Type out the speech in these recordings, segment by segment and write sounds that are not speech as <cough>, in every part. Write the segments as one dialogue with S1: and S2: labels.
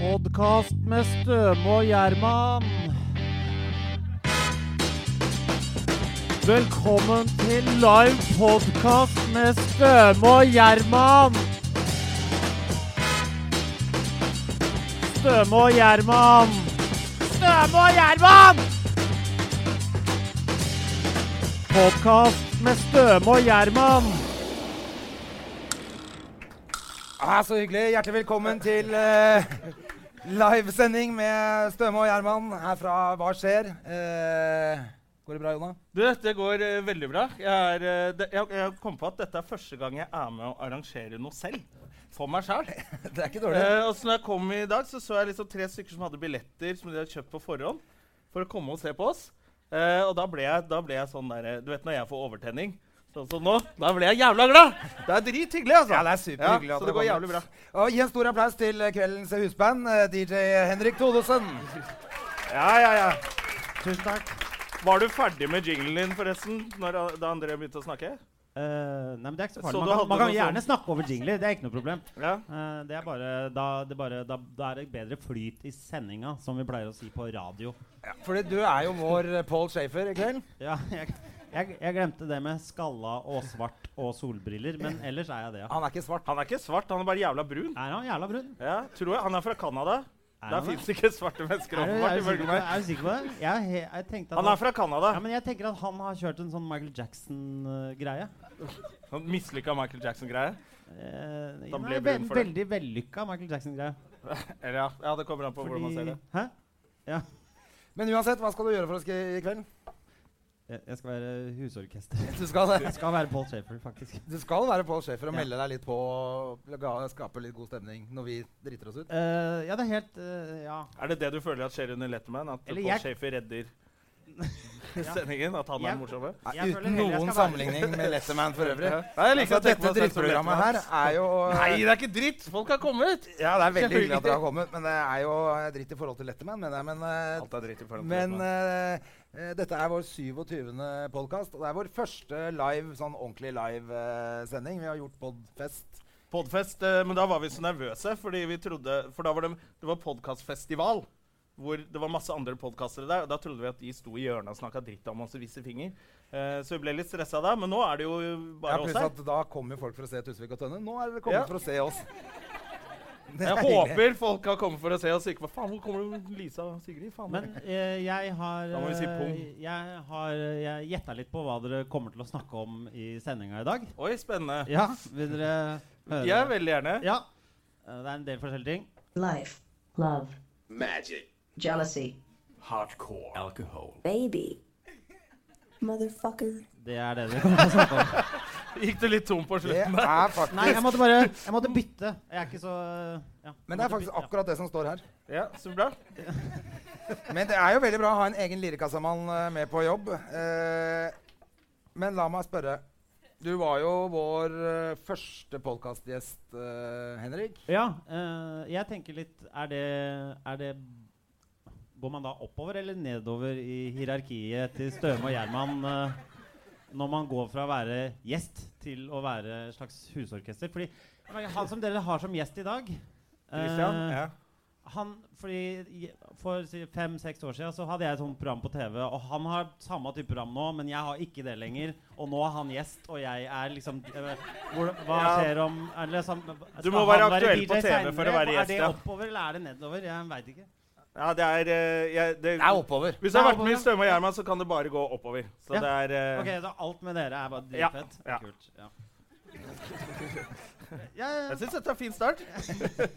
S1: Podkast med Støme og Gjerman. Velkommen til live podkast med Støme og Gjerman. Støme og Gjerman. Støme og Gjerman! Podkast med Støme og Gjerman.
S2: Ah, så hyggelig. Hjertelig velkommen til eh, livesending med Støme og Gjerman her fra Hva skjer? Eh, går det bra, Jonna? <laughs>
S3: Du, det går eh, veldig bra. Jeg, er, eh, det, jeg, jeg kom på at dette er første gang jeg er med og arrangerer noe selv. For meg
S2: <laughs>
S3: sjøl.
S2: Det er ikke dårlig.
S3: Eh, og så når jeg kom i dag, så så jeg liksom tre stykker som hadde billetter som de hadde kjøpt på forhånd. For å komme og se på oss. Eh, og da ble, jeg, da ble jeg sånn der eh, Du vet når jeg får overtenning? Sånn som nå. Da ble jeg jævla glad! Det er drithyggelig, altså.
S2: Ja, det er superhyggelig
S3: Ja,
S2: at
S3: så
S2: dere
S3: det går
S2: kommer.
S3: jævlig bra.
S2: Og gi en stor applaus til kveldens husband, eh, DJ Henrik Thodesen.
S3: Ja, ja, ja.
S2: Tusen takk.
S3: Var du ferdig med jinglen din, forresten, når, da André begynte å snakke?
S1: Eh, nei, men det er ikke så
S3: Så
S1: farlig. Man kan,
S3: du hadde sånn.
S1: man kan
S3: noe
S1: gjerne snakke over jingler. Det er ikke noe problem.
S3: Ja.
S1: Eh, det er bare, da, det er bare da, da er det bedre flyt i sendinga, som vi pleier å si på radio.
S2: Ja, fordi du er jo vår eh, Paul Shafer i kveld.
S1: Ja, <laughs> jeg, jeg, jeg glemte det med skalla og svart og solbriller, men ellers er jeg det. ja.
S2: Han er ikke svart.
S3: Han er ikke svart, han er bare jævla brun.
S1: Er han jævla brun?
S3: Ja, tror jeg. Han er fra Canada.
S1: Er
S3: Der
S1: han
S3: fins ikke svarte mennesker.
S1: Er du,
S3: åpenbart,
S1: er du,
S3: ifølge
S1: sikker, på-
S3: meg.
S1: er du sikker på det? Jeg, he- jeg tenkte at
S3: Han er fra Canada.
S1: ja, men jeg tenker at han har kjørt en sånn Michael Jackson-greie.
S3: Sånn Mislykka Michael Jackson-greie.
S1: Uh, nei,
S3: Da ble
S1: ve
S3: brun for det.
S1: veldig vellykka Michael Jackson-greie.
S3: Eller ja, ja, det kommer an på hvordan man ser det.
S1: Hæ? Ja.
S2: Men uansett, hva skal du gjøre for oss i i kveld?
S1: Jeg, jeg skal være husorkester.
S2: Du skal,
S1: Jeg skal være Paul Shafer, faktisk.
S2: du skal være Paul Shafer og
S1: Ja.
S2: melde deg litt på og ga- skape litt god stemning når vi driter oss ut.
S1: Eh, ja, det er helt eh, Ja.
S3: Er det det du føler at skjer under Letterman? At
S1: Eller
S3: Paul
S1: jeg-
S3: Shafer redder sendingen? At han
S1: Jeg-
S3: er den morsomme?
S2: Nei,
S1: Jeg føler
S2: Uten
S1: heller jeg skal
S2: noen
S1: være-
S2: sammenligning med Letterman for øvrig.
S3: Nei, jeg liker
S2: Altså,
S3: at jeg
S2: dette
S3: tenker meg selv som
S2: drittprogrammet her er jo
S3: Nei, det er ikke dritt! Folk har kommet!
S2: Ja, det er veldig hyggelig at dere har
S3: Selvfølgelig.
S2: kommet, men det er jo eh, dritt i forhold til Letterman, mener jeg. Men, eh,
S3: Alt er dritt i forhold til
S2: men
S3: Letterman.
S2: eh, eh, dette er vår 27. podkast, og det er vår første live, sånn ordentlig live-sending. Vi har gjort podfest.
S3: Podfest, eh, men da var vi så nervøse, fordi vi trodde For da var det, det var podkastfestival. Hvor det var masse andre podkastere der. Og da trodde vi at de sto i hjørnet og snakka dritt om oss og viste finger. Eh, så vi ble litt stressa da, men nå er det jo
S2: Ja,
S3: bare oss
S2: pluss
S3: her.
S2: at da kommer jo folk for å se Tusvik og Tønne. Nå er dere kommet
S3: Ja.
S2: for å se oss. Det er
S3: Jeg
S2: hyggelig.
S3: håper folk har kommet for å se oss og ikke bare Faen, hvor kommer Lisa og Sigrid? Faen,
S1: Men eh, jeg har
S3: Da må vi si
S1: eh,
S3: pung.
S1: Jeg har eh, jeg gjetta litt på hva dere kommer til å snakke om i sendinga i dag.
S3: Oi, spennende.
S1: Ja, vil dere høre?
S3: Jeg er veldig gjerne.
S1: Ja. Eh, Det er en del forskjellige ting.
S4: Life. Love. Magic. Jealousy.
S5: baby. Motherfucker.
S1: Det er det dere kommer til å snakke om.
S3: Gikk det litt tom på
S2: Det
S3: slutten?
S2: er
S1: Nei, jeg
S2: faktisk,
S1: måtte bare Jeg måtte bytte. Jeg er ikke så eh, ja.
S2: men det er faktisk akkurat det som står her.
S3: Ja, så bra.
S2: Men det er jo veldig bra å ha en egen lirekassamann eh, med på jobb. Eh, men la meg spørre. Du var jo vår eh, første podkastgjest, eh, Henrik.
S1: Ja, eh, jeg tenker litt Er det, er det Går man da oppover eller nedover i hierarkiet til Støme og Gjerman eh, når man går fra å være gjest til å være et slags husorkester? Fordi han som dere har som gjest i dag eh, han, fordi je- For si fem-seks år siden så hadde jeg et sånt program på TV. Og han har samme type program nå, men jeg har ikke det lenger. Og nå er han gjest, og jeg er liksom eh, hvor, Hva
S3: Ja.
S1: skjer om eller, liksom, skal
S3: må
S1: han
S3: være aktuell på
S1: DJ
S3: TV for å
S1: senere?
S3: være gjest,
S1: Er det
S3: ja.
S1: oppover eller er det nedover? Jeg veit ikke.
S3: Ja, det er, eh, jeg, det,
S2: Det er oppover.
S3: Hvis jeg har
S1: Det er
S3: vært med i
S1: oppover,
S3: Støme og Gjerman, så kan det bare gå oppover. Så
S1: Ja.
S3: det er eh,
S1: Ok, så Alt med dere er bare
S3: Ja,
S1: dritfett?
S3: ja.
S1: Kult. <laughs> Ja. Ja, ja,
S3: Jeg syns dette er en fin start.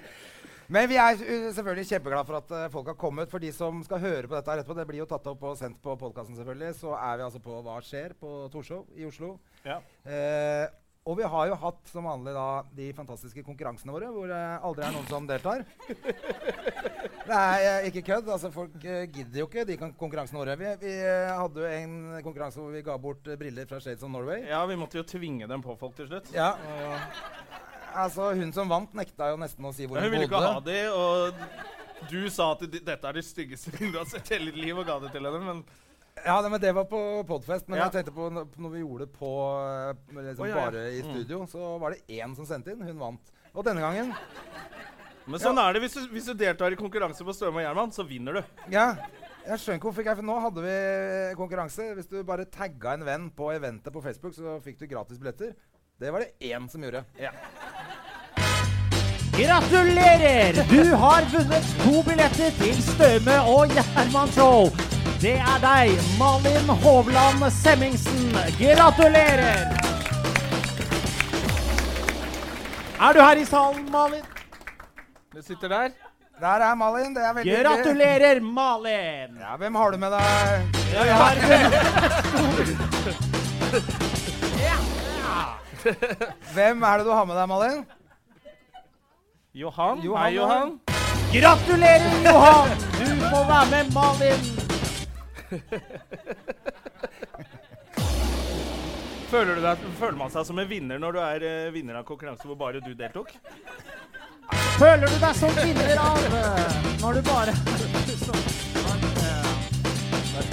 S2: Men vi er uh, selvfølgelig kjempeglad for at uh, folk har kommet. For de som skal høre på dette her etterpå, det blir jo tatt opp og sendt på podkasten, selvfølgelig. Så er vi altså på Hva skjer? på Torshov i Oslo.
S3: Ja.
S2: Eh, og vi har jo hatt som vanlig da de fantastiske konkurransene våre, hvor det aldri er noen som
S3: <laughs>
S2: deltar. Det er eh, ikke kødd. altså Folk eh, gidder jo ikke de kon- konkurransene våre. Vi, vi eh, hadde jo en konkurranse hvor vi ga bort eh, briller fra Shades of Norway.
S3: ja, vi måtte jo tvinge dem på folk til slutt.
S2: Ja. Altså, hun som vant, nekta jo nesten å si hvor
S3: Ja,
S2: hun
S3: hun ville ikke
S2: bodde.
S3: ha de, og du sa at de- dette er de styggeste bildene du har sett i hele ditt liv, og ga det til henne. Men
S2: Ja, det, men det var på Podfest. Men
S3: Ja.
S2: jeg tenkte på n- på når vi gjorde det på eh, liksom
S3: Å, ja, Mm. ja.
S2: bare i studio, så var det én som sendte inn. Hun vant. Og denne gangen
S3: Men sånn er det. Hvis du, hvis du deltar i konkurranse på Støme og Gjerman, så vinner du.
S2: Ja. Jeg skjønner ikke hvorfor ikke jeg For nå hadde vi konkurranse. Hvis du bare tagga en venn på eventet på Facebook, så fikk du gratis billetter. Det var det én som gjorde.
S1: Gratulerer! Du har vunnet to billetter til Støme og Gjerman Show. Det er deg, Malin Hovland Semmingsen. Gratulerer! Er du her i salen, Malin?
S3: Du sitter der.
S2: Der er Malin. Det er veldig hyggelig.
S1: Gratulerer, Malin!
S2: Ja, hvem har du med deg?
S1: Du har vunnet
S2: Hvem er det du har med deg, Malin?
S3: Johan.
S2: Johan,
S3: Hei, Johan.
S1: Gratulerer, Johan! Du får være med Malin.
S3: Føler, du deg, føler man seg som en vinner når du er eh, vinner av konkurranse hvor bare du deltok?
S1: Føler du deg som vinner av eh, når du bare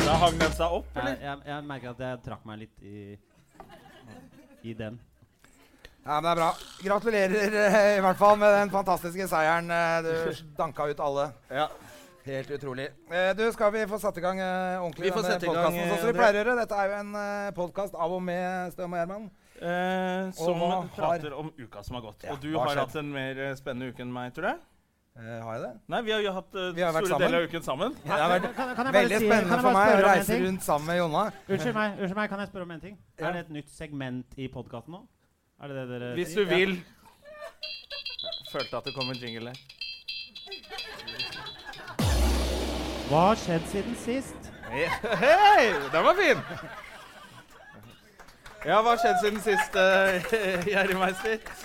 S3: Da hang den seg opp, eller?
S1: Jeg, jeg, jeg merker at jeg trakk meg litt i, i den.
S2: Ja, men det er bra. Gratulerer eh, i hvert fall med den fantastiske seieren. eh, Du danka ut alle.
S3: Ja.
S2: Helt utrolig. Eh, Du, skal vi få satt i gang eh, ordentlig
S3: Vi får
S2: denne
S3: sette i gang,
S2: podcasten,
S3: eh,
S2: sånn som vi
S3: André.
S2: pleier å gjøre? Dette er jo en eh, podkast av og med Støm og Gjerman.
S3: Eh, som
S2: hva har-
S3: prater om uka som har gått.
S2: Ja,
S3: og du
S2: hva har
S3: har
S2: skjedd?
S3: hatt en mer eh, spennende uke enn meg, tror jeg.
S2: Eh, Har jeg det?
S3: Nei, vi har jo hatt eh,
S2: Vi har vært
S3: store
S2: sammen.
S3: deler av uken sammen.
S2: Det har vært
S1: Kan, kan jeg bare
S2: veldig
S1: si- kan
S2: spennende
S1: jeg
S2: for
S1: bare
S2: meg å
S1: spørre om en
S2: reise
S1: ting?
S2: rundt sammen med Jonna.
S1: Unnskyld meg, unnskyld meg, kan jeg spørre om en ting?
S2: Ja.
S1: Er det et nytt segment i podkasten nå? Er det det dere
S3: Hvis du
S1: sier?
S3: vil. Følte at det kom en jingle der.
S1: Ja. Hva har skjedd siden sist?
S3: Hei, den var fin! Ja, hva har skjedd siden sist, eh, Gjerri Meister?
S2: <laughs>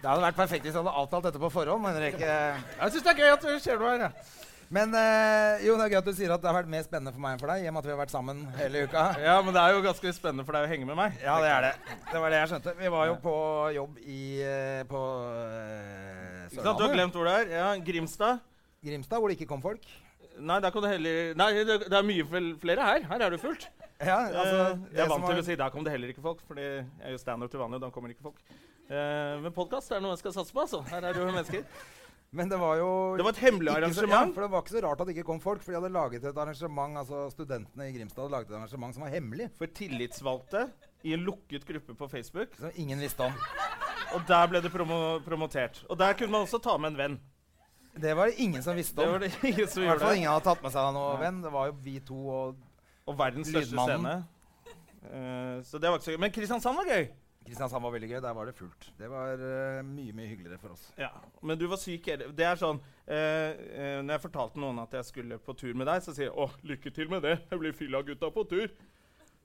S2: Det hadde vært perfekt hvis jeg hadde avtalt dette på forhånd. Men, Henrik.
S3: Jeg syns det er gøy at du ser noe her. jeg.
S2: men eh, jo, det er gøy at du sier at det har vært mer spennende for meg enn for deg, i og med at vi har vært sammen hele uka.
S3: Ja, men det er jo ganske spennende for deg å henge med meg.
S2: Ja, det er det. Det var det jeg skjønte. Vi var jo på jobb i eh, på eh,
S3: Ikke sant, Du har
S2: Sørlandet.
S3: glemt hvor det er. Ja, Grimstad.
S2: Grimstad, hvor det ikke kom folk.
S3: Nei, der kan du heller Nei, det det er mye vel- flere her. Her er det fullt.
S2: Ja, altså,
S3: Eh, jeg er vant
S2: som
S3: til
S2: var-
S3: å si der kom det heller ikke folk, fordi jeg er jo standup til vanlig, og da kommer ikke folk. Eh, men podkast er noe jeg skal satse på, altså. Her er det jo mennesker.
S2: Men det var jo
S3: Det var et hemmelig
S2: ikke så- Ja,
S3: arrangement.
S2: for det var ikke så rart at det ikke kom folk, for de hadde laget et arrangement, altså studentene i Grimstad hadde laget et arrangement som var hemmelig,
S3: For tillitsvalgte i en lukket gruppe på Facebook.
S2: som ingen visste om.
S3: Og der ble det promo promotert. Og der kunne man også ta med en venn.
S2: Det var det ingen som visste
S3: Det
S2: om.
S3: var det <laughs> ingen som
S2: I hvert fall
S3: gjorde.
S2: ingen hadde tatt med seg noe venn. Det var jo vi to og
S3: Og verdens største
S2: Lydmannen.
S3: scene. Eh, så det var ikke så gøy. Men Kristiansand var gøy.
S2: Kristiansand var veldig gøy. Der var det fullt. Det var eh, mye, mye hyggeligere for oss.
S3: Ja, Men du var syk hele Det er sånn eh, eh, Når jeg fortalte noen at jeg skulle på tur med deg, så sier jeg 'Å, lykke til med det. Jeg blir fylla gutta på tur'.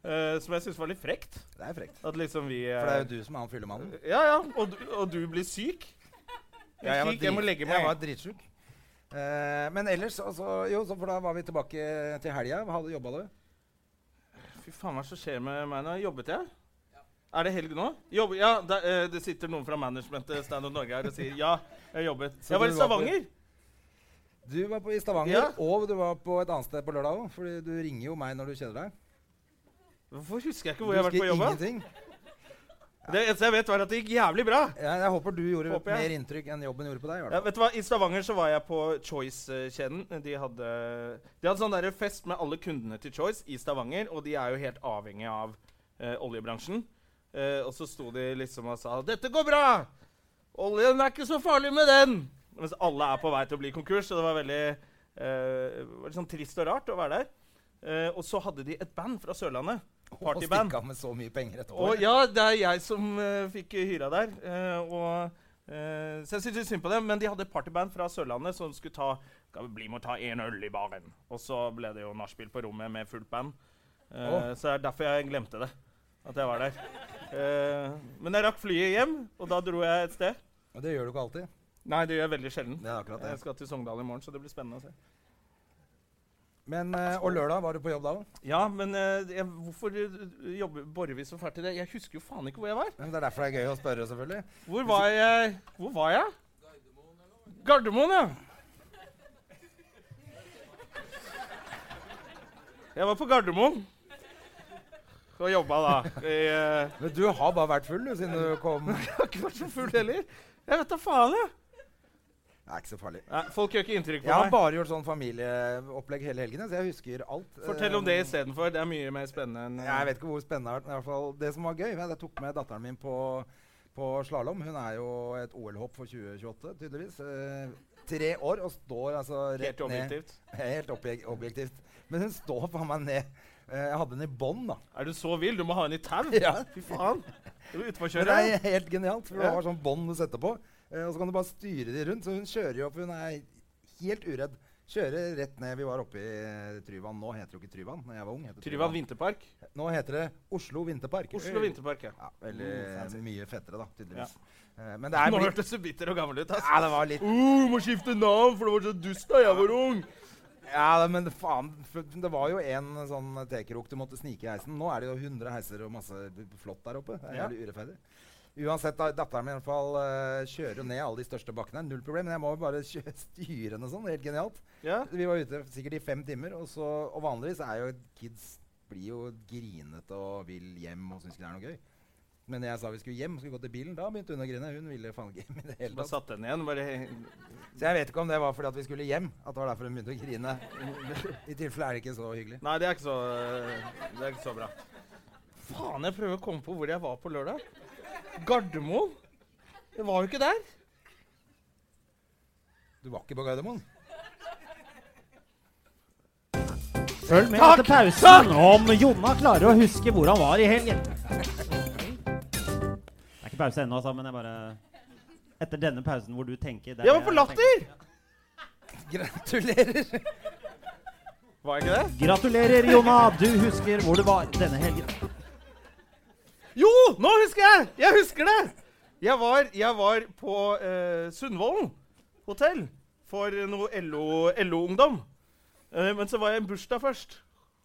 S3: Eh, som jeg syns var litt frekt.
S2: Det er frekt.
S3: At liksom vi eh,
S2: For det er jo du som er han fyllemannen.
S3: Ja, ja. Og, du- og du blir syk. Jeg, er syk, jeg må
S2: drit-
S3: legge
S2: Jeg
S3: meg.
S2: var dritsjuk. Eh, men ellers, altså Jo, så for da var vi tilbake til helga. Hadde jobba du?
S3: Fy faen, hva er det som skjer med meg nå? Jobbet jeg? Er det helg nå? Jobb, ja, det, eh, det sitter noen fra managementet Stand Up Norge her og sier 'ja, jeg jobbet'.
S2: Så
S3: Jeg var i
S2: du var på-
S3: Stavanger.
S2: Du var på, i Stavanger,
S3: Ja.
S2: og du var på et annet sted på lørdag òg. Fordi du ringer jo meg når du kjeder deg.
S3: Hvorfor husker jeg ikke hvor
S2: Du
S3: jeg har vært på
S2: husker
S3: jobb? da?
S2: ingenting.
S3: Det eneste jeg vet, var at det gikk jævlig bra.
S2: Jeg, jeg håper du gjorde
S3: Håper jeg.
S2: mer inntrykk enn jobben gjorde på deg. i hvert
S3: Ja,
S2: fall.
S3: vet du hva? I Stavanger så var jeg på Choice-kjeden. De hadde, de hadde sånn der fest med alle kundene til Choice i Stavanger, og de er jo helt avhengige av eh, oljebransjen. Eh, og så sto de liksom og sa 'Dette går bra! Oljen er ikke så farlig med den!' Mens alle er på vei til å bli konkurs, så det var veldig eh, var litt sånn trist og rart å være der. Eh, og så hadde de et band fra Sørlandet.
S2: Og
S3: Partyband.
S2: stikk av med så mye penger et år.
S3: Og ja, det er jeg som eh, fikk hyra der. eh, og Eh, så jeg syntes litt synd på dem, men de hadde et partyband fra Sørlandet som skulle ta skal vi bli med og ta en øl i baren. Og så ble det jo nachspiel på rommet med fullt band. Eh,
S2: Åh.
S3: Så det er derfor jeg glemte det. At jeg var der. Eh, men jeg rakk flyet hjem, og da dro jeg et sted.
S2: Og det gjør du ikke alltid.
S3: Nei, det gjør jeg veldig sjelden.
S2: Det er akkurat
S3: Jeg
S2: det.
S3: skal til Sogndal i morgen, så det blir spennende å se.
S2: Men, eh, og lørdag, var du på jobb da òg?
S3: Ja, men eh, jeg, hvorfor eh, jobber Borrevi så fælt i det? Jeg husker jo faen ikke hvor jeg var.
S2: Det er derfor det er gøy å spørre, selvfølgelig.
S3: Hvor var jeg? Hvor var jeg? Gardermoen, ja. Jeg var på Gardermoen. Og jobba da. Jeg eh,
S2: Men du har bare vært full, du, siden du kom. Det
S3: <laughs> jeg har ikke vært så full heller. Jeg vet da faen, jeg.
S2: er ikke så farlig.
S3: Nei, folk gjør ikke inntrykk på
S2: Jeg har
S3: meg.
S2: bare gjort sånn familieopplegg hele helgen, så jeg husker alt.
S3: Fortell om det
S2: Eh,
S3: istedenfor. Det er mye mer spennende enn
S2: Jeg vet ikke hvor spennende det har vært, men i hvert fall det som var gøy, var at jeg tok med datteren min på, på slalåm. Hun er jo et OL-hopp for 2028, tydeligvis. Eh, tre år og står altså rett
S3: eh, helt
S2: ned.
S3: objektivt.
S2: Helt objek objektivt. Men hun står faen meg ned. Eh, jeg hadde henne i bånd, da.
S3: Er du så vill? Du må ha en i <laughs> tau.
S2: Ja.
S3: Fy faen. Du er
S2: Men det
S3: utforkjører.
S2: er helt genialt, for du
S3: Ja.
S2: har sånn bånd du setter på. eh, og så kan du bare styre de rundt. Så hun kjører jo opp. Hun er helt uredd. Kjører rett ned. Vi var oppe i eh, Tryvann. Nå heter det jo ikke Tryvann. Når jeg var ung, het det
S3: Tryvann vinterpark.
S2: Nå heter det Oslo Vinterpark.
S3: Oslo vinterpark, ja.
S2: Ja, veldig mye fettere, da, tydeligvis. Eh, men det er
S3: Nå
S2: blitt
S3: hørtes du bitter og gammel ut. ass.
S2: Ja, det var litt
S3: Uh, må skifte navn, for det var så dust da jeg var ung.
S2: Ja, men faen for Det var jo en sånn tekerok du måtte snike i heisen. Nå er det jo 100 heiser og masse b- flott der oppe. Det er
S3: Ja.
S2: jævlig urettferdig. Uansett, da, datteren min i hvert fall eh, kjører jo ned alle de største bakkene. Null problem. Men jeg må jo bare <laughs> kjø- styre henne sånn. Helt genialt.
S3: Ja.
S2: Vi var ute sikkert i fem timer, og, så, og vanligvis er jo kids blir jo grinete og vil hjem og syns ikke det er noe gøy. Men når jeg sa vi skulle hjem, skulle gå til bilen, da begynte hun å grine. Hun ville faen ikke hjem i det hele
S3: Bare
S2: tatt.
S3: satt den igjen. Bare
S2: Så jeg vet ikke om det var fordi at vi skulle hjem, at det var derfor hun begynte å grine. I tilfelle er det ikke så hyggelig.
S3: Nei, det er ikke så, det er ikke så bra. Faen, jeg prøver å komme på hvor jeg var på lørdag. Gardermoen. Jeg var jo ikke der.
S2: Du var ikke på Gardermoen?
S1: Følg med etter pausen om Jonna klarer å huske hvor han var i helgen. Det er ikke pause ennå, altså, men jeg bare Etter denne pausen hvor du tenker det er
S3: Jeg var
S1: det
S3: på Latter!
S2: Gratulerer!
S3: Var jeg ikke det?
S1: tenker. Gratulerer, Jonna. Du husker hvor du var denne helgen.
S3: Jo, nå husker jeg! Jeg husker det! Jeg var, jeg var på eh, Sundvolden hotell for noe LO-ungdom. Eh, men så var jeg i en bursdag først.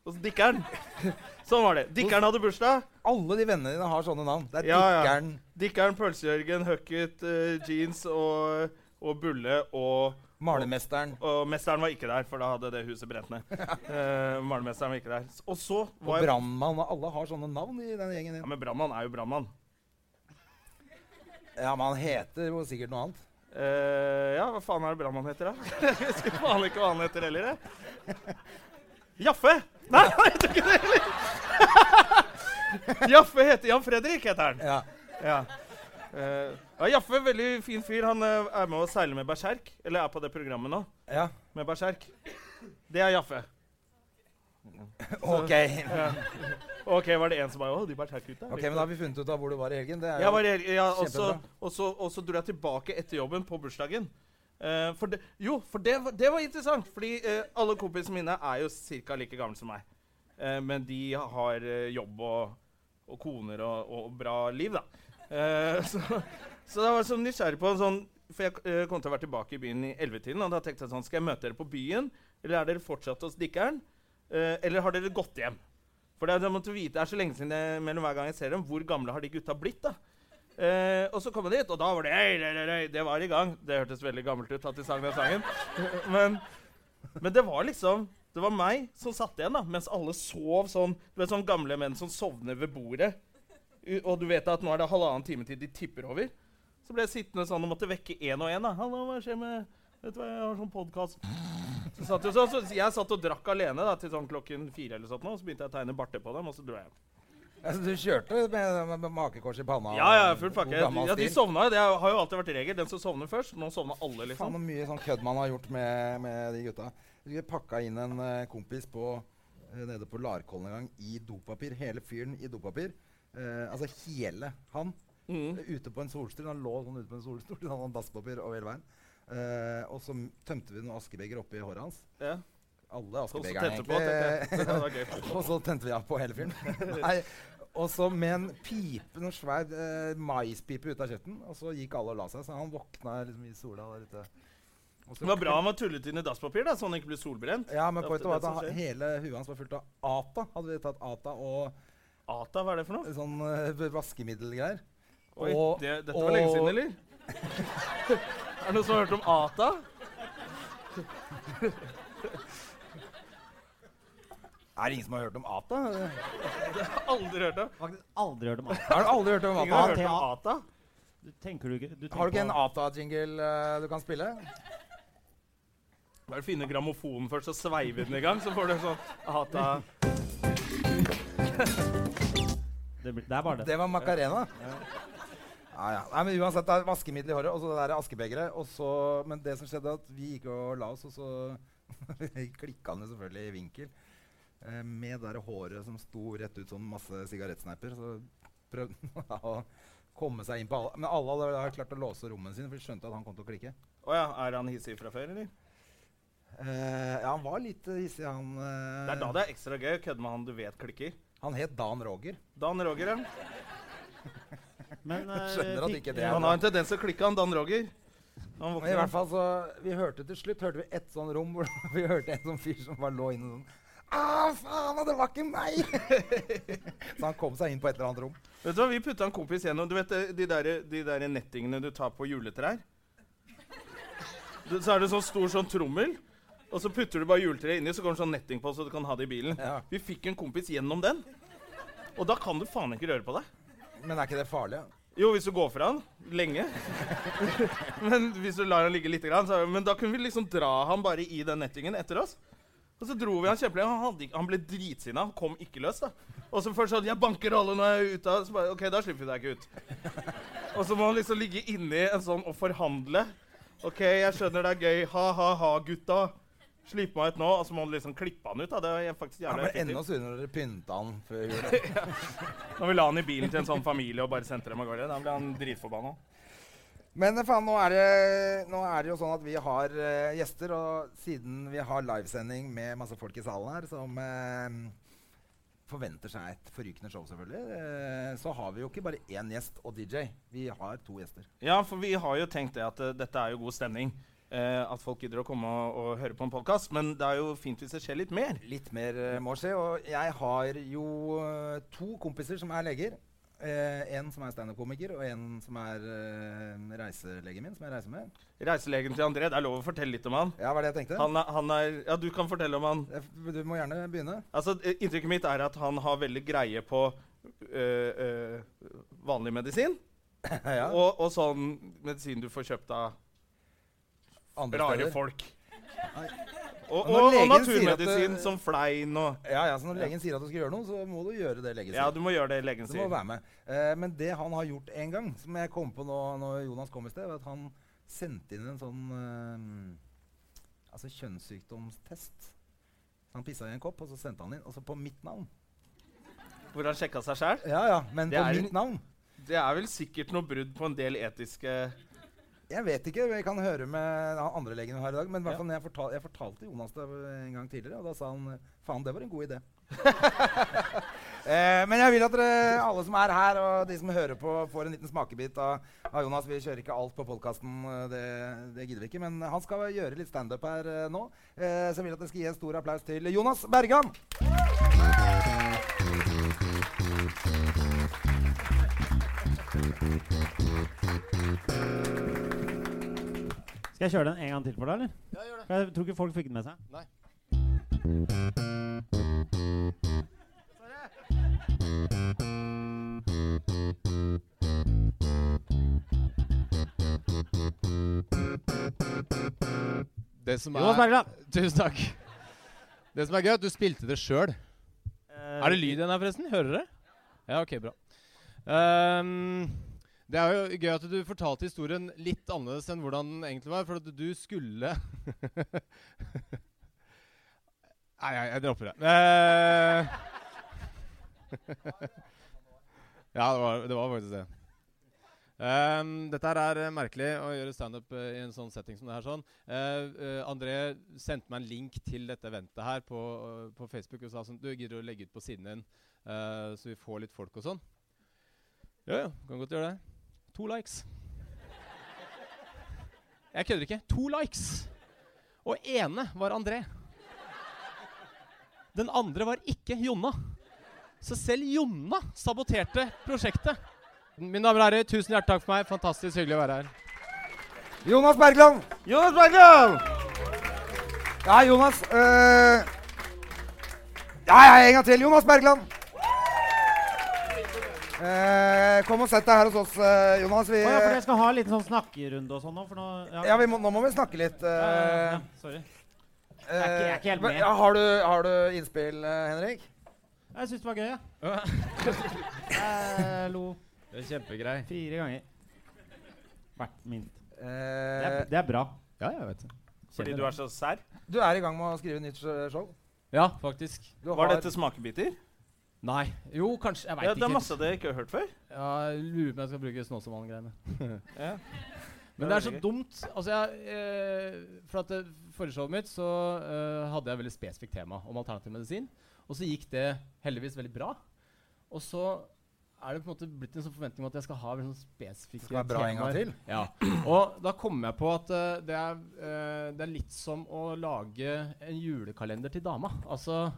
S3: Hos Dikkeren. <laughs> sånn var det. Dikkeren hadde bursdag.
S2: Alle de vennene dine har sånne navn. Det er
S3: Ja, ja.
S2: Dikkeren
S3: Dikkeren, Pølsejørgen, Hucket, eh, Jeans og, og Bulle og
S2: Malermesteren.
S3: og mesteren var ikke der, for da hadde det huset brent ned. Eh, Malermesteren var ikke der. S- Og så
S2: Og
S3: var jeg
S2: Brannmann. og Alle har sånne navn i den gjengen
S3: Ja,
S2: din.
S3: Men brannmann er jo brannmann.
S2: Ja, men han heter jo sikkert noe annet.
S3: Eh, ja, hva faen er det brannmann heter, da? <laughs> jeg husker faen ikke hva han heter heller. Jeg. Jaffe! Nei, <laughs> han heter ikke det heller! <laughs> Jaffe heter Jan Fredrik, heter han.
S2: Ja.
S3: Ja. Eh, ja, Jaffe, veldig fin fyr. Han eh, er med og seiler med Berserk. Eller er på det programmet nå,
S2: ja.
S3: med Berserk. Det er Jaffe.
S2: OK.
S3: OK, var det en som bare Å, de Berserk-gutta.
S2: Ok, Men da har vi funnet ut av hvor du var i helgen. Det er
S3: Jeg
S2: jo
S3: var i- ja, og så-
S2: Kjempebra.
S3: og så- og så dro jeg tilbake etter jobben på bursdagen. Eh, for det, jo, for det, var- det var interessant, fordi eh, alle kompisene mine er jo ca. like gamle som meg. Eh, men de har eh, jobb og, og koner og, og bra liv, da. Eh, <laughs> så, så jeg var sånn nysgjerrig på en sånn For jeg eh, kom til å være tilbake i byen i 11-tiden, og da tenkte jeg sånn Skal jeg møte dere på byen, eller er dere fortsatt hos dikkeren? Eh, eller har dere gått hjem? For det, er- jeg måtte vite, det er så lenge siden jeg, mellom hver gang jeg ser dem, hvor gamle har de gutta blitt, da? Eh, og så kom jeg dit, og da var det «Ei, ei, ei, ei», Det var i gang. Det hørtes veldig gammelt ut at de sang den sangen. Men, men det var liksom Det var meg som satt igjen, da, mens alle sov sånn Du vet sånn gamle menn som sovner ved bordet. U- Og du vet at nå er det halvannen time til de tipper over. Så ble jeg sittende sånn og måtte vekke én og én. da. 'Hallo, hva skjer med Vet du hva, jeg har sånn podkast.' Så satt jeg, sånn, så jeg satt og drakk alene da, til sånn klokken fire, eller sånt, nå, og så begynte jeg å tegne barter på dem, og så dro jeg hjem.
S2: altså, Du kjørte med, med makekors i panna?
S3: Ja, ja,
S2: og
S3: full pakke.
S2: god gammel
S3: Ja, de
S2: stil.
S3: sovna jo. Det har jo alltid vært regel. Den som sovner først. Nå sovna alle,
S2: Faen
S3: liksom.
S2: så mye sånn kødd man har gjort med, med de gutta. Vi pakka inn en eh, kompis på, eh, nede på Larkollen en gang i dopapir. Hele fyren i dopapir. Eh, altså hele han.
S3: Mm.
S2: ute på en solstol. Han lå sånn ute på en solstol. Han hadde dasspapir over hele veien. Eh, og så tømte vi noen askebeger oppi håret hans.
S3: Ja.
S2: Alle
S3: Sånn som
S2: askebegerne,
S3: tente på, tenkte jeg.
S2: egentlig.
S3: <laughs> Det var gøy.
S2: Og så tente vi av på hele filmen. Nei. Og så med en pipe, noen svær eh, maispipe ut av kjøtten. Og så gikk alle og la seg, så han våkna liksom i sola der ute. Og så-
S3: Det var bra han var tullet inn i dasspapir, da, så han ikke ble solbrent.
S2: Ja, men
S3: Det er
S2: pointet
S3: ofte
S2: var at
S3: det som
S2: han,
S3: skjer.
S2: hele huet hans var fullt av ata. Hadde vi tatt ata og
S3: Ata, hva er det for noe?
S2: sånn eh, vaskemiddelgreier.
S3: Oi,
S2: Og-
S3: det, dette var lenge
S2: og-
S3: siden, eller? er det noen som har hørt om Ata?
S2: Er det ingen som har hørt om ata?
S3: Aldri hørt om.
S1: Faktisk aldri hørt om alt.
S2: Har du aldri hørt om
S3: Ingen
S2: ata?
S3: har hørt om
S1: Ata.
S3: Ata?
S1: Du tenker du ikke du
S2: Har du ikke
S1: tenker
S2: en
S1: på-
S2: ata-jingle eh, du kan spille?
S3: Bare finne grammofonen først, så sveiver den i gang, så får du en sånn Ata.
S1: Det, blir- det er bare det.
S2: Det var Macarena. Ja, ja. Nei, men uansett, det er vaskemiddel i håret og så det der askebegeret. og så- Men det som skjedde, at vi gikk og la oss, og så <laughs> klikka han jo selvfølgelig i vinkel. Eh, med det der håret som sto rett ut som masse sigarettsneiper. Så prøvde <laughs> han å komme seg inn på alle. Men alle hadde da klart å låse rommene sine, for de skjønte at han kom til å klikke.
S3: Å ja, er han hissig fra før, eller?
S2: Eh, ja, han var litt eh, hissig, han. eh,
S3: Det er da det er ekstra gøy å kødde med han du vet klikker.
S2: Han het Dan Roger.
S3: Dan Roger, ja.
S1: Men eh,
S2: skjønner at
S1: fikk-
S2: ikke det
S1: ja,
S2: er
S3: Han har en tendens til å klikke, han Dan Roger. Han
S2: Men i hvert
S3: våkner.
S2: fall så, Vi hørte til slutt hørte vi ett sånn rom hvor <laughs> vi hørte en sånn fyr som bare lå inne sånn Au, faen, det var ikke meg! <laughs> så han kom seg inn på et eller annet rom.
S3: Vet du hva, vi putta en kompis gjennom Du vet eh, de der, de der nettingene du tar på juletrær? Du, så er det sånn stor sånn trommel, og så putter du bare juletreet inni, så kommer det sånn netting på, så du kan ha det i bilen.
S2: Ja.
S3: Vi fikk en kompis gjennom den, og da kan du faen ikke røre på deg.
S2: Men er ikke det farlig? da?
S3: Jo, hvis du går fra han
S2: <laughs>
S3: lenge. men hvis du lar han ligge litt, grann, så, men da kunne vi liksom dra han bare i den nettingen etter oss. Og så dro vi han kjempelenge. Han, hadde ikke- han ble dritsinna. Han kom ikke løs. da. Og så først sånn 'Jeg banker alle når jeg er ute.' av-» Så bare, ok, da slipper vi deg ikke ut. Og så må han liksom ligge inni en sånn og forhandle. 'OK, jeg skjønner det er gøy. Ha-ha-ha, gutta. Slipp meg ut nå.' Og så må han liksom klippe han ut. da. Det er faktisk
S2: Han
S3: jævlig
S2: ble
S3: effektivt.
S2: enda surere når dere pynta han før
S3: <laughs>
S2: jul.
S3: Når vi la han i bilen til en sånn familie og bare sendte dem av gårde, da ble han dritforbanna.
S2: Men eh, faen, nå er, det, nå er det jo sånn at vi har eh, gjester, og siden vi har livesending med masse folk i salen her som eh, forventer seg et forrykende show, selvfølgelig, eh, så har vi jo ikke bare én gjest og DJ. Vi har to gjester.
S3: Ja, for vi har jo tenkt det at eh, dette er jo god stemning. eh, at folk gidder å komme og, og høre på en podkast. Men det er jo fint hvis det skjer litt mer.
S2: Litt mer eh, må skje. Og jeg har jo eh, to kompiser som er leger. Eh, en som er standup-komiker, og en som er eh, reiselegen min, som jeg reiser med.
S3: Reiselegen til André, det er lov å fortelle litt om han.
S2: Ja, var det jeg tenkte?
S3: Han er, han er Ja, du kan fortelle om han.
S2: Eh, f- Du må gjerne begynne. <laughs>
S3: Altså, eh, Inntrykket mitt er at han har veldig greie på eh, eh, vanlig medisin.
S2: ja,
S3: Og, og sånn medisin du får kjøpt av
S2: andre
S3: rare
S2: steder.
S3: folk.
S2: Nei.
S3: Og, og,
S2: Når
S3: og
S2: legen sier at
S3: naturmedisin
S2: det-
S3: som flein og
S2: Ja, ja, så når legen sier at du skal gjøre noe, så må du gjøre det legen sier.
S3: Ja, du må gjøre det legen
S2: Så må
S3: sier.
S2: du være med. Eh, men det han har gjort en gang, som jeg kom på nå, når Jonas kom i sted, var at han sendte inn en sånn eh, altså kjønnssykdomstest. Han pissa i en kopp, og så sendte han inn. Og så på mitt navn.
S3: Hvor han sjekka seg sjæl.
S2: Ja, ja, men
S3: Det
S2: på
S3: er en-
S2: mitt navn?
S3: Det er vel sikkert noe brudd på en del etiske
S2: Jeg vet ikke. Jeg kan høre med han andre legen vi har i dag. Men i hvert
S3: Ja.
S2: fall når jeg, fortal, jeg fortalte Jonas det en gang tidligere, og da sa han faen, det var en god
S3: <laughs>
S2: idé. eh, men jeg vil at dere alle som er her, og de som hører på, får en liten smakebit av, av Jonas. Vi kjører ikke alt på podkasten, det, det gidder vi ikke. Men han skal gjøre litt standup her eh, nå. Eh, så jeg vil at dere skal gi en stor applaus til Jonas Bergan.
S1: Skal jeg kjøre den en gang til for deg, eller? Ja, gjør det. For jeg tror ikke folk fikk den med seg.
S6: Det som
S1: Jonas
S6: er
S1: Bergland!
S6: <laughs> Tusen takk. Det som er gøy, er at du spilte det sjøl.
S1: Eh,
S6: Er det lyd igjen her, forresten? Hører dere? Ja, OK, bra. Ehm, det er jo gøy at du fortalte historien litt annerledes enn hvordan den egentlig var, for at du skulle <laughs> Nei, jeg, jeg dropper det. Eh, <laughs> ja, det var, det var faktisk det. Ehm, dette her er eh, merkelig å gjøre standup uh, i en sånn setting som det her. sånn. Eh, eh, André sendte meg en link til dette eventet her på, eh, på Facebook og sa sånn Du gidder du å legge ut på siden din, eh, så vi får litt folk og sånn? Ja, ja. Kan godt gjøre det. To likes. Jeg kødder ikke. To likes! Og ene var André. Den andre var ikke Jonna. Så selv Jonna saboterte prosjektet. Mine damer og herrer, tusen hjertelig takk for meg. Fantastisk hyggelig å være her.
S2: Jonas Bergland!
S3: Jonas Bergland!
S2: Ja, Jonas. eh, Ja, ja, en gang til. Jonas Bergland. Eh, kom og sett deg her hos oss, eh, Jonas. Vi,
S1: Å ja, for dere skal ha en liten sånn snakkerunde og sånn nå? For nå ja.
S2: ja, vi må, nå må vi snakke litt. eh,
S1: Ja, ja, sorry. Jeg er ikke- jeg er ikke helt
S2: men-
S1: med.
S2: Ja, har, du, har du innspill, eh, Henrik?
S1: Jeg syns det var gøy, jeg. Jeg lo
S6: Det er kjempegrei.
S1: fire ganger. Hvert minst. Det
S2: Eh,
S1: er, det er bra.
S6: Ja, jeg vet det.
S3: Fordi du er så sær.
S2: du er i gang med å skrive nytt sj- show.
S6: Ja, faktisk.
S2: Du
S3: Var dette smakebiter?
S6: Nei. Jo, kanskje. Jeg veit
S3: Ja, det
S6: ikke.
S3: er masse dere ikke har hørt før.
S6: Ja, jeg lurer på om jeg skal bruke Snåsamannen-greiene.
S2: <laughs>
S3: Ja.
S6: Men det er så dumt. Altså, jeg, eh, for at det, Forrige showet mitt så eh, hadde jeg veldig spesifikt tema om alternativ medisin. Og så gikk det heldigvis veldig bra. Og så er det på en måte blitt en sånn forventning om at jeg skal ha veldig sånn spesifikke
S2: skal være bra en gang
S6: temaer.
S2: til.
S6: Ja. Og da kom jeg på at eh, det, er, eh, det er litt som å lage en julekalender til dama. Altså,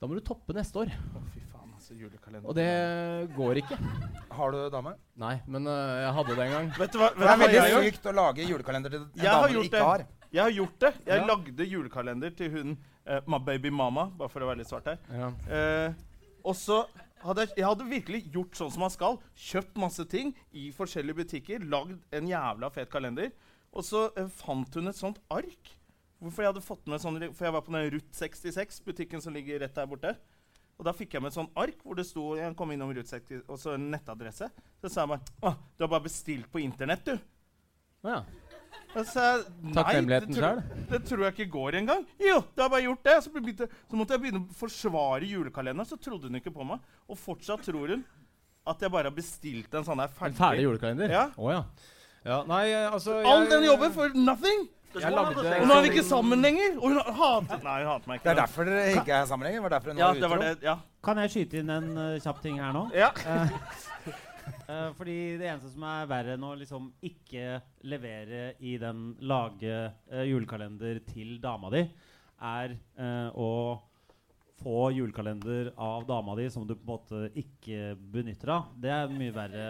S6: da må du toppe neste år.
S3: Å, fy faen, altså, julekalender.
S6: Og det går ikke.
S2: Har du dame?
S6: Nei, men eh, jeg hadde det en gang.
S3: Vet du hva, vet
S2: Det er
S3: du hva jeg har
S2: veldig
S3: gjort?
S2: sykt å lage julekalender til en
S3: Jeg har
S2: dame du
S3: gjort
S2: ikke har.
S3: det. Jeg har gjort det. Jeg
S6: Ja.
S3: lagde julekalender til hun eh, My Baby Mama, bare for å være litt svart her.
S6: Ja.
S3: Eh, og så hadde jeg, jeg hadde virkelig gjort sånn som man skal. Kjøpt masse ting i forskjellige butikker. Lagd en jævla fet kalender. Og så eh, fant hun et sånt ark. Hvorfor jeg hadde fått med sånn, For jeg var på den Rut 66, butikken som ligger rett der borte. Og da fikk jeg med et sånt ark hvor det sto jeg kom innom Rut 66, og så en nettadresse. Så sa jeg bare Å, du har bare bestilt på internett, du.
S6: Ja.
S3: Og så sa jeg, Altså, «Nei,
S6: Takknemligheten
S3: det tror- Det tror jeg ikke går engang. Jo, det har bare gjort det. Så, begynte, så måtte jeg begynne å forsvare julekalenderen. Så trodde hun ikke på meg. Og fortsatt tror hun at jeg bare har bestilt en sånn her
S6: En
S3: ferdig,
S6: ferdig julekalender?
S3: Ja.
S6: Å ja. ja. Nei, eh, altså
S3: All
S6: jeg-
S3: den jobben for nothing!
S6: Jeg lagde
S3: Og nå er vi ikke sammen lenger! Og hun hater Nei, hun hater meg
S2: Det
S3: ikke.
S2: er derfor dere ikke er sammen lenger. Det var derfor hun
S3: ja,
S2: var
S3: det var
S2: utro.
S3: det. Ja.
S1: Kan jeg skyte inn en eh, kjapp ting her nå?
S3: ja.
S1: Eh, fordi det eneste som er verre enn å liksom ikke levere i den lage eh, julekalender til dama di, er eh, å få julekalender av dama di som du på en måte ikke benytter av. Det er mye verre.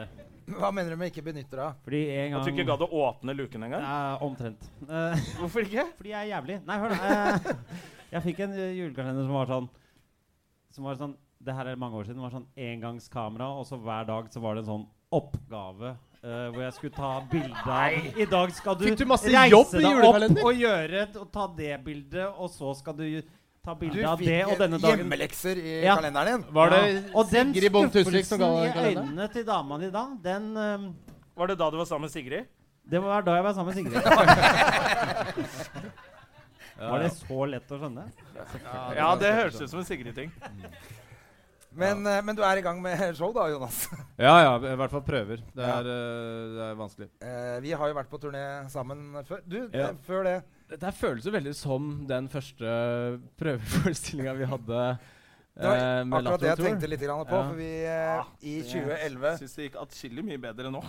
S2: Hva mener du med ikke benytter deg av?
S1: Fordi en
S3: At
S1: gang
S3: du ikke gadd å åpne luken engang?
S1: Ja, omtrent. Eh,
S3: Hvorfor ikke?
S1: fordi jeg er jævlig. Nei, hør da. eh, jeg fikk en eh, julekalender som var sånn Som var sånn Det her er mange år siden. Det var sånn engangskamera, og så hver dag så var det en sånn oppgave. eh, hvor jeg skulle ta bilde av I dag skal du,
S6: Fikk du masse
S1: reise
S6: jobb i
S1: deg
S6: julekalender?
S1: opp og gjøre et- og ta det bildet, og så skal du ju- ta
S2: Du
S1: bilde av det og denne
S2: fikk eh,
S1: dagen.
S2: hjemmelekser i
S1: Ja.
S2: kalenderen din.
S6: Var det
S1: Ja. Og den
S6: Sigrid Bonde Tusvik som
S1: skuffelsen
S6: ga
S1: i
S6: deg kalenderen?
S1: øynene til dama di da, den eh,
S3: Var det da du var sammen med Sigrid?
S1: Det var da jeg var sammen med
S6: <laughs>
S1: Sigrid. Var det så lett å skjønne?
S3: Ja, det
S2: sånn.
S3: høres ut som en Sigrid-ting.
S2: Men, eh, men du er i gang med <laughs> show, da, Jonas.
S6: Ja ja, i hvert fall prøver. Det er, eh, det er vanskelig.
S2: Eh, vi har jo vært på turné sammen før. Du,
S6: Ja.
S2: eh, før det
S6: Dette her føles jo veldig som den første prøveforestillinga vi hadde
S2: Det var
S6: eh, med
S2: akkurat det jeg
S6: Latter Tour.
S2: tenkte litt grann på.
S6: Ja.
S2: For vi,
S3: Ah,
S2: eh, i 2011
S3: Syns det gikk atskillig mye bedre nå.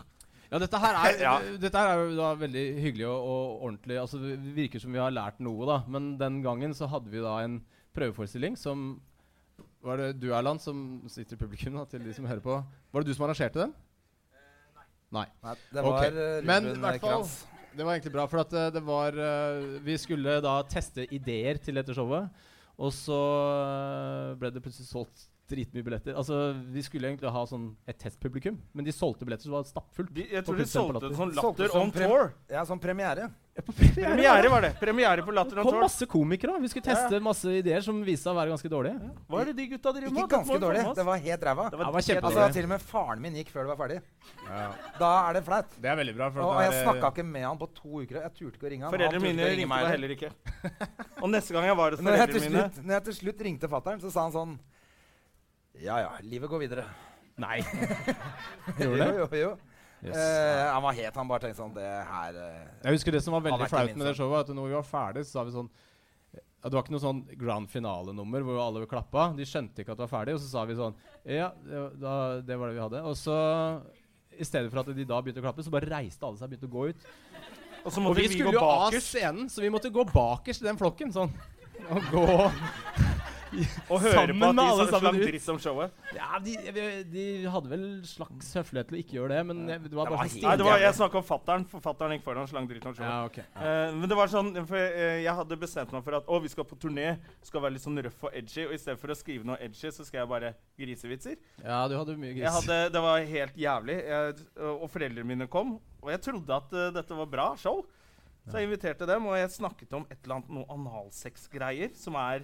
S6: Ja, dette her er,
S3: Ja.
S6: dette her er jo da veldig hyggelig og, og ordentlig. Altså, det virker som vi har lært noe, da. Men den gangen så hadde vi da en prøveforestilling som Var det du, Erland, som sitter i publikum, da, til de som hører på? Var det du som arrangerte den?
S2: Nei, det
S6: Ok.
S2: var eh,
S6: Men i
S2: Ruben
S6: hvert fall-
S2: Kranz.
S6: Det var egentlig bra, for at eh, det var eh, Vi skulle da teste ideer til dette showet. Og så eh, ble det plutselig solgt dritmye billetter. Altså, Vi skulle egentlig ha sånn et testpublikum, men de solgte billetter, så det var stappfullt.
S3: <laughs> De, jeg
S6: Og
S3: tror de
S6: plutselig på
S3: solgte
S6: Latter.
S3: en sånn
S2: Solgte
S3: Latter
S2: som
S3: on
S2: prem-
S3: tour.
S2: Ja, som premiere.
S3: Premiere var det. Premiere på Latter on
S6: Det kom
S3: tour.
S6: masse komikere. da. Vi skulle teste masse ideer som viste seg å være ganske dårlige.
S3: Hva er det de gutta driver med?
S2: Ikke
S3: Dette må
S2: ganske
S3: vi få
S2: dårlig.
S3: med oss.
S2: Det var helt ræva.
S6: Det var
S2: Altså,
S6: kjempedårlig.
S2: til og med faren min gikk før det var ferdig. Da er det flaut.
S6: Det er veldig bra.
S2: Og, og jeg snakka ikke med han på to uker. Jeg turte ikke å ringe han.
S3: Foreldrene
S2: han turte ikke
S3: mine
S2: å
S3: ringte
S2: ringe meg
S3: meg
S2: heller.
S3: heller ikke. Og neste gang jeg var hos
S2: Når jeg, til
S3: foreldrene mine
S2: slutt, når jeg til slutt ringte fattern, så sa han sånn Ja ja, livet går videre. <laughs>
S6: Nei.
S2: Gjorde det? Jo, jo, jo.
S6: Yes.
S2: Eh, han var het, han bare tenkte sånn Det her eh,
S6: Jeg husker det som var
S2: har
S6: veldig
S2: vært
S6: flaut
S2: det
S6: med det
S2: minste.
S6: showet, at når vi var ferdig, så sa vi sånn ja, Det var ikke noe sånn grand finale-nummer hvor alle klappa. De skjønte ikke at det var ferdig, og så sa vi sånn Ja, det var, da, det var det vi hadde. Og så i stedet for at de da begynte å klappe, så bare reiste alle seg og begynte å gå ut.
S3: Og så måtte
S6: vi,
S3: vi gå
S6: skulle jo av
S3: bakerst.
S6: scenen, så vi måtte gå bakerst i den flokken <laughs> sånn. Og gå
S3: Og høre
S6: Sammen
S3: på
S6: med
S3: at
S6: alle
S3: de sa
S6: sammen
S3: slang
S6: ut.
S3: dritt om showet.
S6: Ja, de, de- de hadde vel slags høflighet til å ikke gjøre det, men jeg- det var
S2: Det var
S6: bare så
S2: helt-
S6: stille.
S3: Nei, det var, jeg snakka om fattern. Fattern gikk foran og slang dritt om showet.
S6: Ja, ok. Ja.
S3: Eh, men det var sånn, for eh, Jeg hadde bestemt meg for at å, vi skal på turné, skal være litt sånn røff og edgy. Og i stedet for å skrive noe edgy, så skal jeg bare grisevitser.
S6: ja, du hadde mye
S3: Jeg
S6: gris.
S3: hadde, det var helt jævlig. Jeg, og foreldrene mine kom. Og jeg trodde at eh, dette var bra show. Så jeg inviterte dem, og jeg snakket om et eller annet noe analsexgreier som er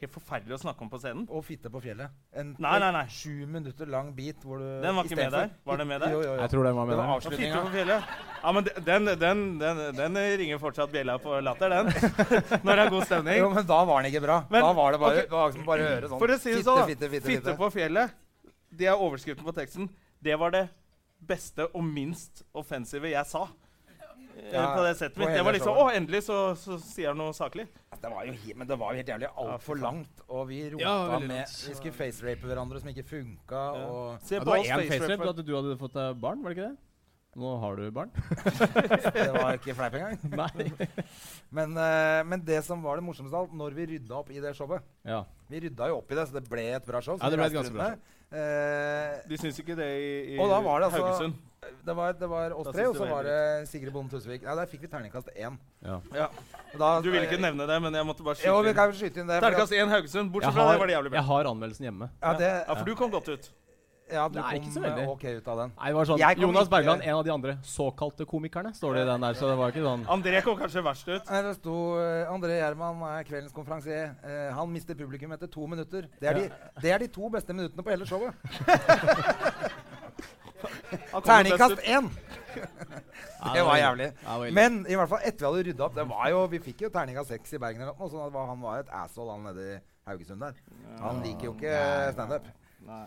S3: helt forferdelig å snakke om på scenen.
S2: Og fitte på fjellet. En
S3: Nei, nei, nei.
S2: sju minutter lang bit hvor du
S3: Den var ikke
S2: i stedet
S3: med
S2: for-
S3: der. Var den med der?
S2: Jo, jo, jo.
S6: Jeg tror den var
S2: Det
S6: med
S2: var
S6: der.
S3: Ja,
S2: avslutninga.
S3: fitte på fjellet. Ja, men de- den, den, den, den ringer fortsatt bjella på latter, den. <laughs> Når det er god stemning.
S2: Jo, men da var den ikke bra.
S3: Men-
S2: da var det bare,
S3: ok.
S2: det var liksom bare å høre sånn
S3: For å si det sånn, da.
S2: fitte, fitte, fitte,
S3: Fitte
S2: fitte.
S3: på fjellet. Det er overskriften på teksten. Det var det beste og minst offensive jeg sa. eh,
S2: Ja,
S3: på det settet
S2: på
S3: mitt. Det
S2: hele
S3: var liksom Å,
S2: showet.
S3: endelig så, så sier han noe saklig.
S2: Det var jo, he- men det var jo helt jævlig altfor langt, og vi rota
S6: Ja, veldig
S2: med
S6: langt.
S2: Vi skulle facerape hverandre som ikke funka, og
S3: Se
S6: Ja, det var én facerape at du hadde fått deg barn, var det ikke det? Nå har du barn.
S2: det var ikke fleip engang.
S6: <laughs> Nei.
S2: Men, eh, men det som var det morsomste av alt, når vi rydda opp i det showet
S6: Ja.
S2: Vi rydda jo opp i det, så det ble et bra show. så
S6: Ja, det
S2: vi
S6: ble et
S2: reiste
S6: ganske bra
S2: rundt med. Eh,
S3: De syns ikke det i, i
S2: Og da var det altså-
S3: Haugesund.
S2: det, var, det var oss
S3: Da
S2: tre,
S3: synes
S2: og
S3: du
S2: så
S3: det
S2: var
S3: var
S2: det Sigrid Bonde Tusvik. Ja, der fikk vi terningkast én.
S6: Ja.
S2: Da- Eh,
S3: Du ville ikke nevne det, men jeg måtte bare
S2: Jo, vi
S3: skyte inn.
S2: kan skyte inn det. for at-
S3: Terningkast 1 Haugesund.
S6: Jeg
S3: Bortsett fra det
S6: har,
S3: var det jævlig bra.
S6: jeg har anmeldelsen hjemme.
S2: Ja, det,
S3: Ja, for du kom godt ut.
S2: ja, du
S6: Nei, ikke så
S2: kom eh,
S6: veldig.
S2: ok ut av den.
S6: Nei, det var sånn,
S2: Jeg kom
S6: Jonas
S2: ikke-
S6: Bergland, en av de andre såkalte komikerne, står det i den der. Så det var ikke sånn
S3: André kom kanskje verst ut.
S2: Nei, Det sto eh, André Gjerman er kveldens konferansier. Eh, han mister publikum etter to minutter. Det er, de, det er de to beste minuttene på hele showet.
S3: Han kom best
S2: Terningkast
S3: ut.
S2: én! <laughs>
S6: Nei,
S2: Det var jævlig.
S6: Det var veldig-
S2: Men i hvert fall etter vi hadde rydda opp det var jo, Vi fikk jo terningkast seks i Bergen, eller noe, sånn at det var- han var et asshole, han nede i Haugesund der. Han liker jo ikke standup.
S3: Nei,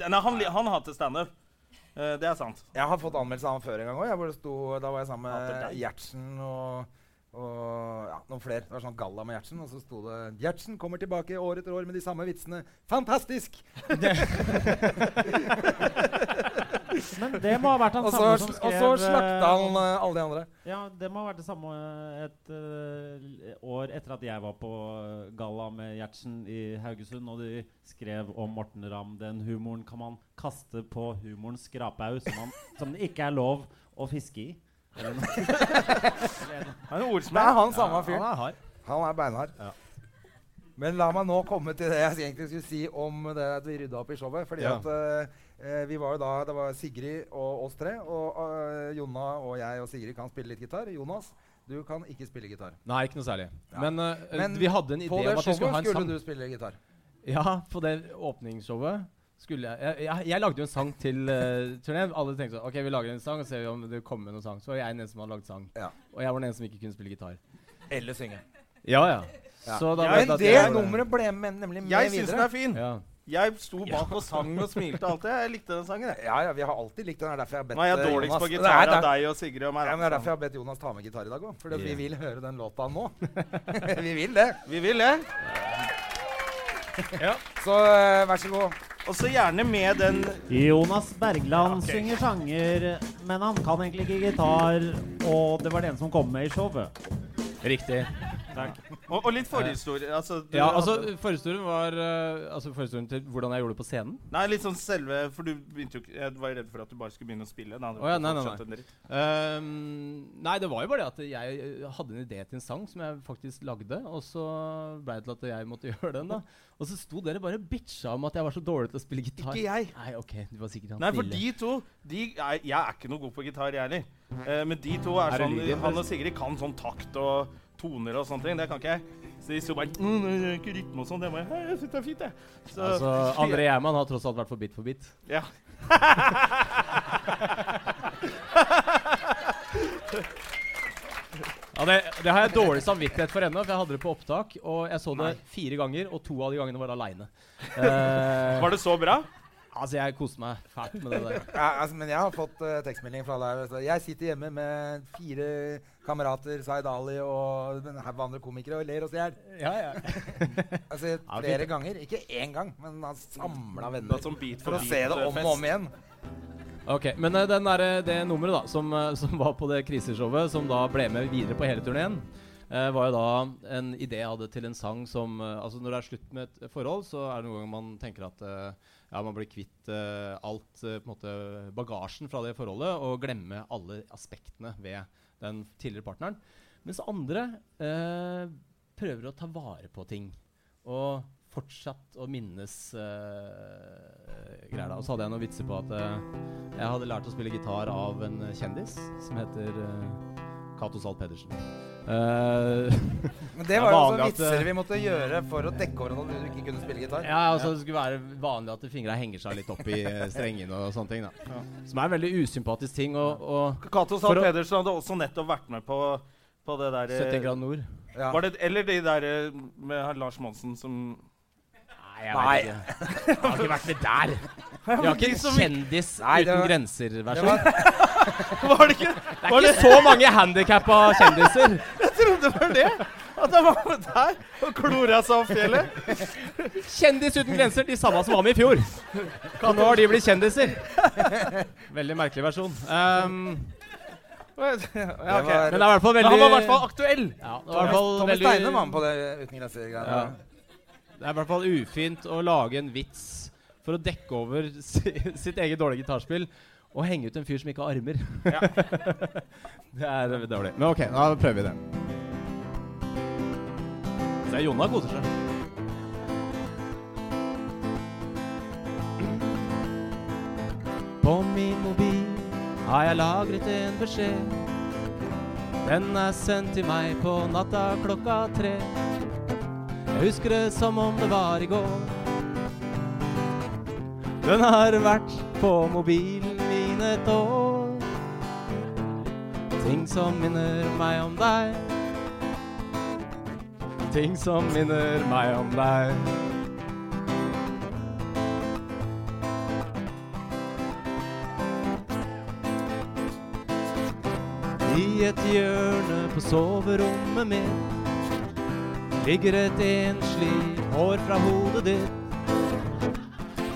S3: d- nei han, li- han hater standup. Uh, det er sant.
S2: Jeg har fått anmeldelse av han før en gang òg. Da var jeg sammen
S3: Hater
S2: med
S3: deg.
S2: Gjertsen og, og ja, noen flere. Det var sånn galla med Gjertsen, og så sto det 'Gjertsen kommer tilbake år etter år med de samme vitsene'. Fantastisk!
S1: Men det må ha vært han
S2: Og så,
S1: samme som
S2: og
S1: skrev
S2: så
S1: eh,
S2: slakta han eh, alle de andre.
S1: Ja, det må ha vært det samme eh, et eh, år etter at jeg var på eh, galla med Gjertsen i Haugesund, og de skrev om Morten Ramm. Den humoren kan man kaste på humorens skraphaug, som, man- som det ikke er lov å fiske i. Eller noe.
S3: Han er en
S2: Det er
S3: ordsmed.
S2: han samme fyren.
S6: Han er hard.
S2: Han er beinhard. Men la meg nå komme til det jeg egentlig skulle si om det at vi rydda opp i showet. Fordi
S6: Ja.
S2: at eh, eh, vi var jo da, Det var Sigrid og oss tre. Og eh, Jonna og jeg og Sigrid kan spille litt gitar. Jonas, du kan ikke spille gitar.
S6: Nei, ikke noe særlig. Men, eh,
S2: Men
S6: vi hadde en idé
S2: På
S6: om
S2: det
S6: at vi
S2: showet
S6: skulle ha
S2: skulle,
S6: en sang.
S2: du spille gitar.
S6: Ja, på det åpningsshowet skulle jeg Jeg, jeg, jeg lagde jo en sang til uh, turneen. Alle tenkte sånn OK, vi lager en sang og ser om det kommer noen sang. Så var jeg den eneste som hadde lagd sang.
S2: Ja.
S6: Og jeg var den eneste som ikke kunne spille gitar.
S2: Eller synge.
S6: Ja, ja. Så da
S3: Ja,
S6: vet
S2: Men
S6: jeg at
S2: det
S6: jeg-
S2: nummeret ble med, nemlig med
S3: Jeg syns den
S2: videre.
S3: er fin.
S6: ja.
S3: Jeg sto bak og sang og smilte og alt det. Jeg likte den sangen. jeg.
S2: Ja, ja, vi har alltid likt den. Det er derfor jeg har bedt
S3: Nå er jeg
S2: eh,
S3: dårligst på
S2: Jonas- Nei,
S3: gitar
S2: det er-
S3: av deg og Sigrid og meg. altså.
S2: Ja,
S3: da.
S2: men Det er derfor jeg har bedt Jonas ta med gitar i dag òg. For vi vil høre den låta nå. <laughs> vi vil det.
S3: Vi vil det.
S2: Så eh, vær så god.
S3: Og så gjerne med den
S1: Jonas Bergland synger sanger, men han kan egentlig ikke gitar, og det var det ene som kom med i showet.
S6: Riktig.
S3: Og, og litt forhistorie. Altså, du
S6: Ja,
S3: hadde-
S6: altså Forhistorien var eh, Altså forhistorien til hvordan jeg gjorde det på scenen.
S3: Nei, litt sånn selve For du begynte jo ikke Jeg var jo redd for at du bare skulle begynne å spille. Da, hadde
S6: Å ja,
S3: du
S6: nei,
S3: ikke
S6: nei,
S3: skjønt en dritt.
S6: Ehm, nei, det var jo bare det at jeg eh, hadde en idé til en sang som jeg faktisk lagde. Og så ble det til at jeg måtte <laughs> gjøre den, da. Og så sto dere bare og bitcha om at jeg var så dårlig til å spille gitar.
S3: Ikke jeg.
S6: Nei, ok, du var sikkert han
S3: Nei, for
S6: snille.
S3: de to de, jeg, jeg er ikke noe god på gitar, jeg heller. Eh, men de to er
S6: Er det
S3: sånn
S6: lyden,
S3: Han og Sigrid kan sånn takt og toner og sånne ting. Det kan ikke jeg. Så de sto bare mm, jeg gjør Ikke rytme og sånn. Det må jeg «Hei, Jeg syns det er fint, jeg. Så,
S6: Altså, André Gjerman har tross alt vært for bit for bit.
S3: Ja.
S6: Ja, det, det <laughs> har jeg dårlig samvittighet for ennå, for jeg hadde det på opptak. <laughs> Og jeg så det fire ganger, og to av de gangene var aleine.
S3: Var det så bra?
S6: Eh, Altså, jeg koser meg fælt med det der.
S2: Ja, altså, men jeg har fått eh, tekstmelding fra deg. altså. Jeg sitter hjemme med fire kamerater, Zaid Ali og en haug andre komikere, og ler oss i hjel.
S6: Ja, ja.
S2: altså,
S6: ok.
S2: flere ganger. Ikke én gang, men han samla venner.
S3: Det er sånn bit for
S2: for å
S3: bit,
S2: se det
S3: eh,
S2: om
S3: fest.
S2: og om igjen.
S6: Ok, Men eh, den der, det nummeret da som, eh, som var på det kriseshowet, som da ble med videre på hele turneen, eh, var jo da en idé jeg hadde til en sang som eh, Altså Når det er slutt med et forhold, så er det noen ganger man tenker at eh, ja, man blir kvitt eh, alt eh, på en måte bagasjen fra det forholdet og glemmer alle aspektene ved den tidligere partneren. Mens andre eh, prøver å ta vare på ting. Og fortsatt å minnes eh, greier da. Og så hadde jeg noen vitser på at eh, jeg hadde lært å spille gitar av en kjendis som heter eh, Cato Zahl Pedersen. Eh, <laughs>
S2: Men
S6: Det
S2: det
S6: er
S2: var jo
S6: vanlig
S2: sånne
S6: at, eh,
S2: vitser vi måtte gjøre for å dekke over at du ikke kunne spille gitar.
S6: ja, altså Det skulle være vanlig at fingra henger seg litt opp i eh, strengene og sånne ting. da Som er en veldig usympatisk ting. Og, og
S3: Cato
S6: For
S3: Zahl
S6: å-
S3: Pedersen hadde også nettopp vært med på, på det der eh,
S6: 70 grad nord.
S2: Ja.
S3: Var det, eller de der eh, med han Lars Monsen som <laughs>
S6: Nei, jeg vet ikke. Jeg har ikke vært med
S2: <laughs>
S6: der. Vi har ikke en kjendis
S2: Nei, det
S6: uten
S2: var- Det
S6: <laughs> grenser-versjon.
S2: var,
S3: Var det ikke
S6: Det er ikke så mange handikappa kjendiser.
S3: Jeg trodde det var det! At han var med der og klora seg opp fjellet.
S6: Kjendis uten grenser, de samme som var med i fjor. Kan nå har de blitt kjendiser. Veldig merkelig versjon. Ehm,
S3: Ja, ok.
S6: men det er i hvert fall
S3: Men
S6: veldig
S3: han var i hvert fall aktuell!
S6: ja, det, er i hvert fall
S2: Tommy
S6: veldig-
S2: Steine var med på det Uten grenser-greiene.
S6: Ja. det er i hvert fall ufint å lage en vits for å dekke over <laughs> si, sitt eget dårlige gitarspill og henge ut en fyr som ikke har armer. <laughs> det er dårlig. Men OK, da prøver vi det. Se, Jonna koser seg. På min mobil har jeg lagret en beskjed. Den er sendt til meg på natta klokka tre. Jeg husker det som om det var i går. Den har vært på mobilen min et år. Ting som minner meg om deg. Ting som minner meg om deg. I et hjørne på soverommet mitt ligger et enslig hår fra hodet ditt.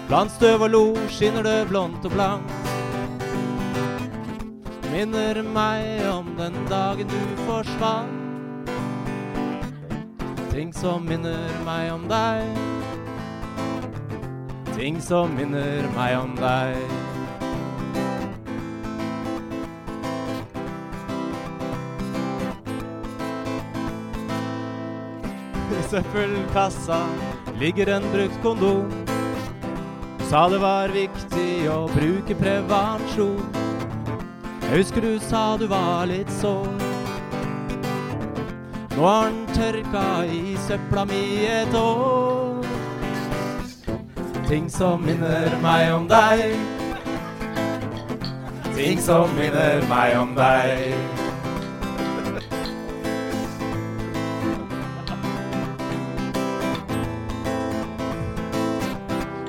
S6: Blant støv og lo skinner det blondt og blankt. Minner meg om den dagen du forsvant. Ting som minner meg om deg. Ting som minner meg om deg. I søppelkassa ligger en brukt kondom. Sa det var viktig å bruke prevensjon. Jeg husker du sa du var litt sår. Nå har den tørka i søpla mi et år. Ting som minner meg om deg. Ting som minner meg om deg.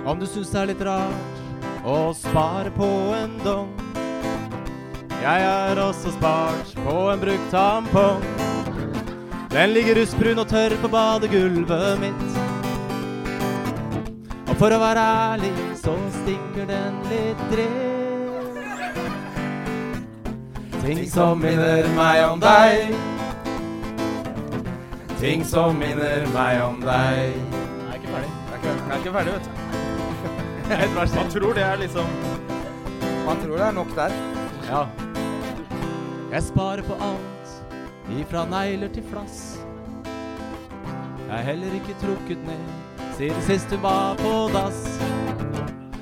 S6: Om du syns det er litt rart å spare på en dong. Jeg har også spart på en brukt tampong. Den ligger rustbrun og tørr på badegulvet mitt. Og for å være ærlig, så stinker den litt dritt. Ting som minner meg om deg. Ting som minner meg om deg. Jeg er ikke ferdig.
S3: Jeg er ikke- jeg er ikke ferdig, <laughs> vet du.
S6: Et vers
S3: Man tror det er liksom
S2: Man tror det er nok der.
S6: Ja. Jeg sparer på alt, ifra negler til flass. Jeg er heller ikke trukket ned siden sist du var på dass.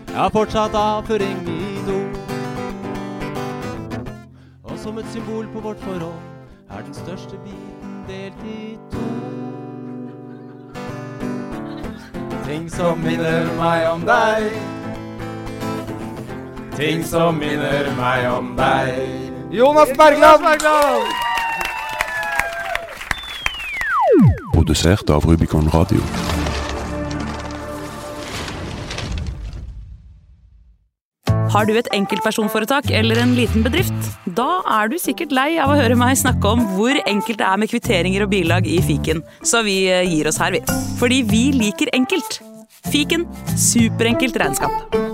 S6: Jeg har fortsatt avføring i do. Og som et symbol på vårt forhold er den største biten delt i to. Ting som minner meg om deg. Ting som minner meg om deg.
S2: Jonas Bergland!
S7: Produsert av Rubicon Radio.
S6: Har du et enkeltpersonforetak eller en liten bedrift? Da er du sikkert lei av å høre meg snakke om hvor enkelt det er med kvitteringer og bilag i fiken, så vi gir oss her, vi. Fordi vi liker enkelt. Fiken superenkelt regnskap.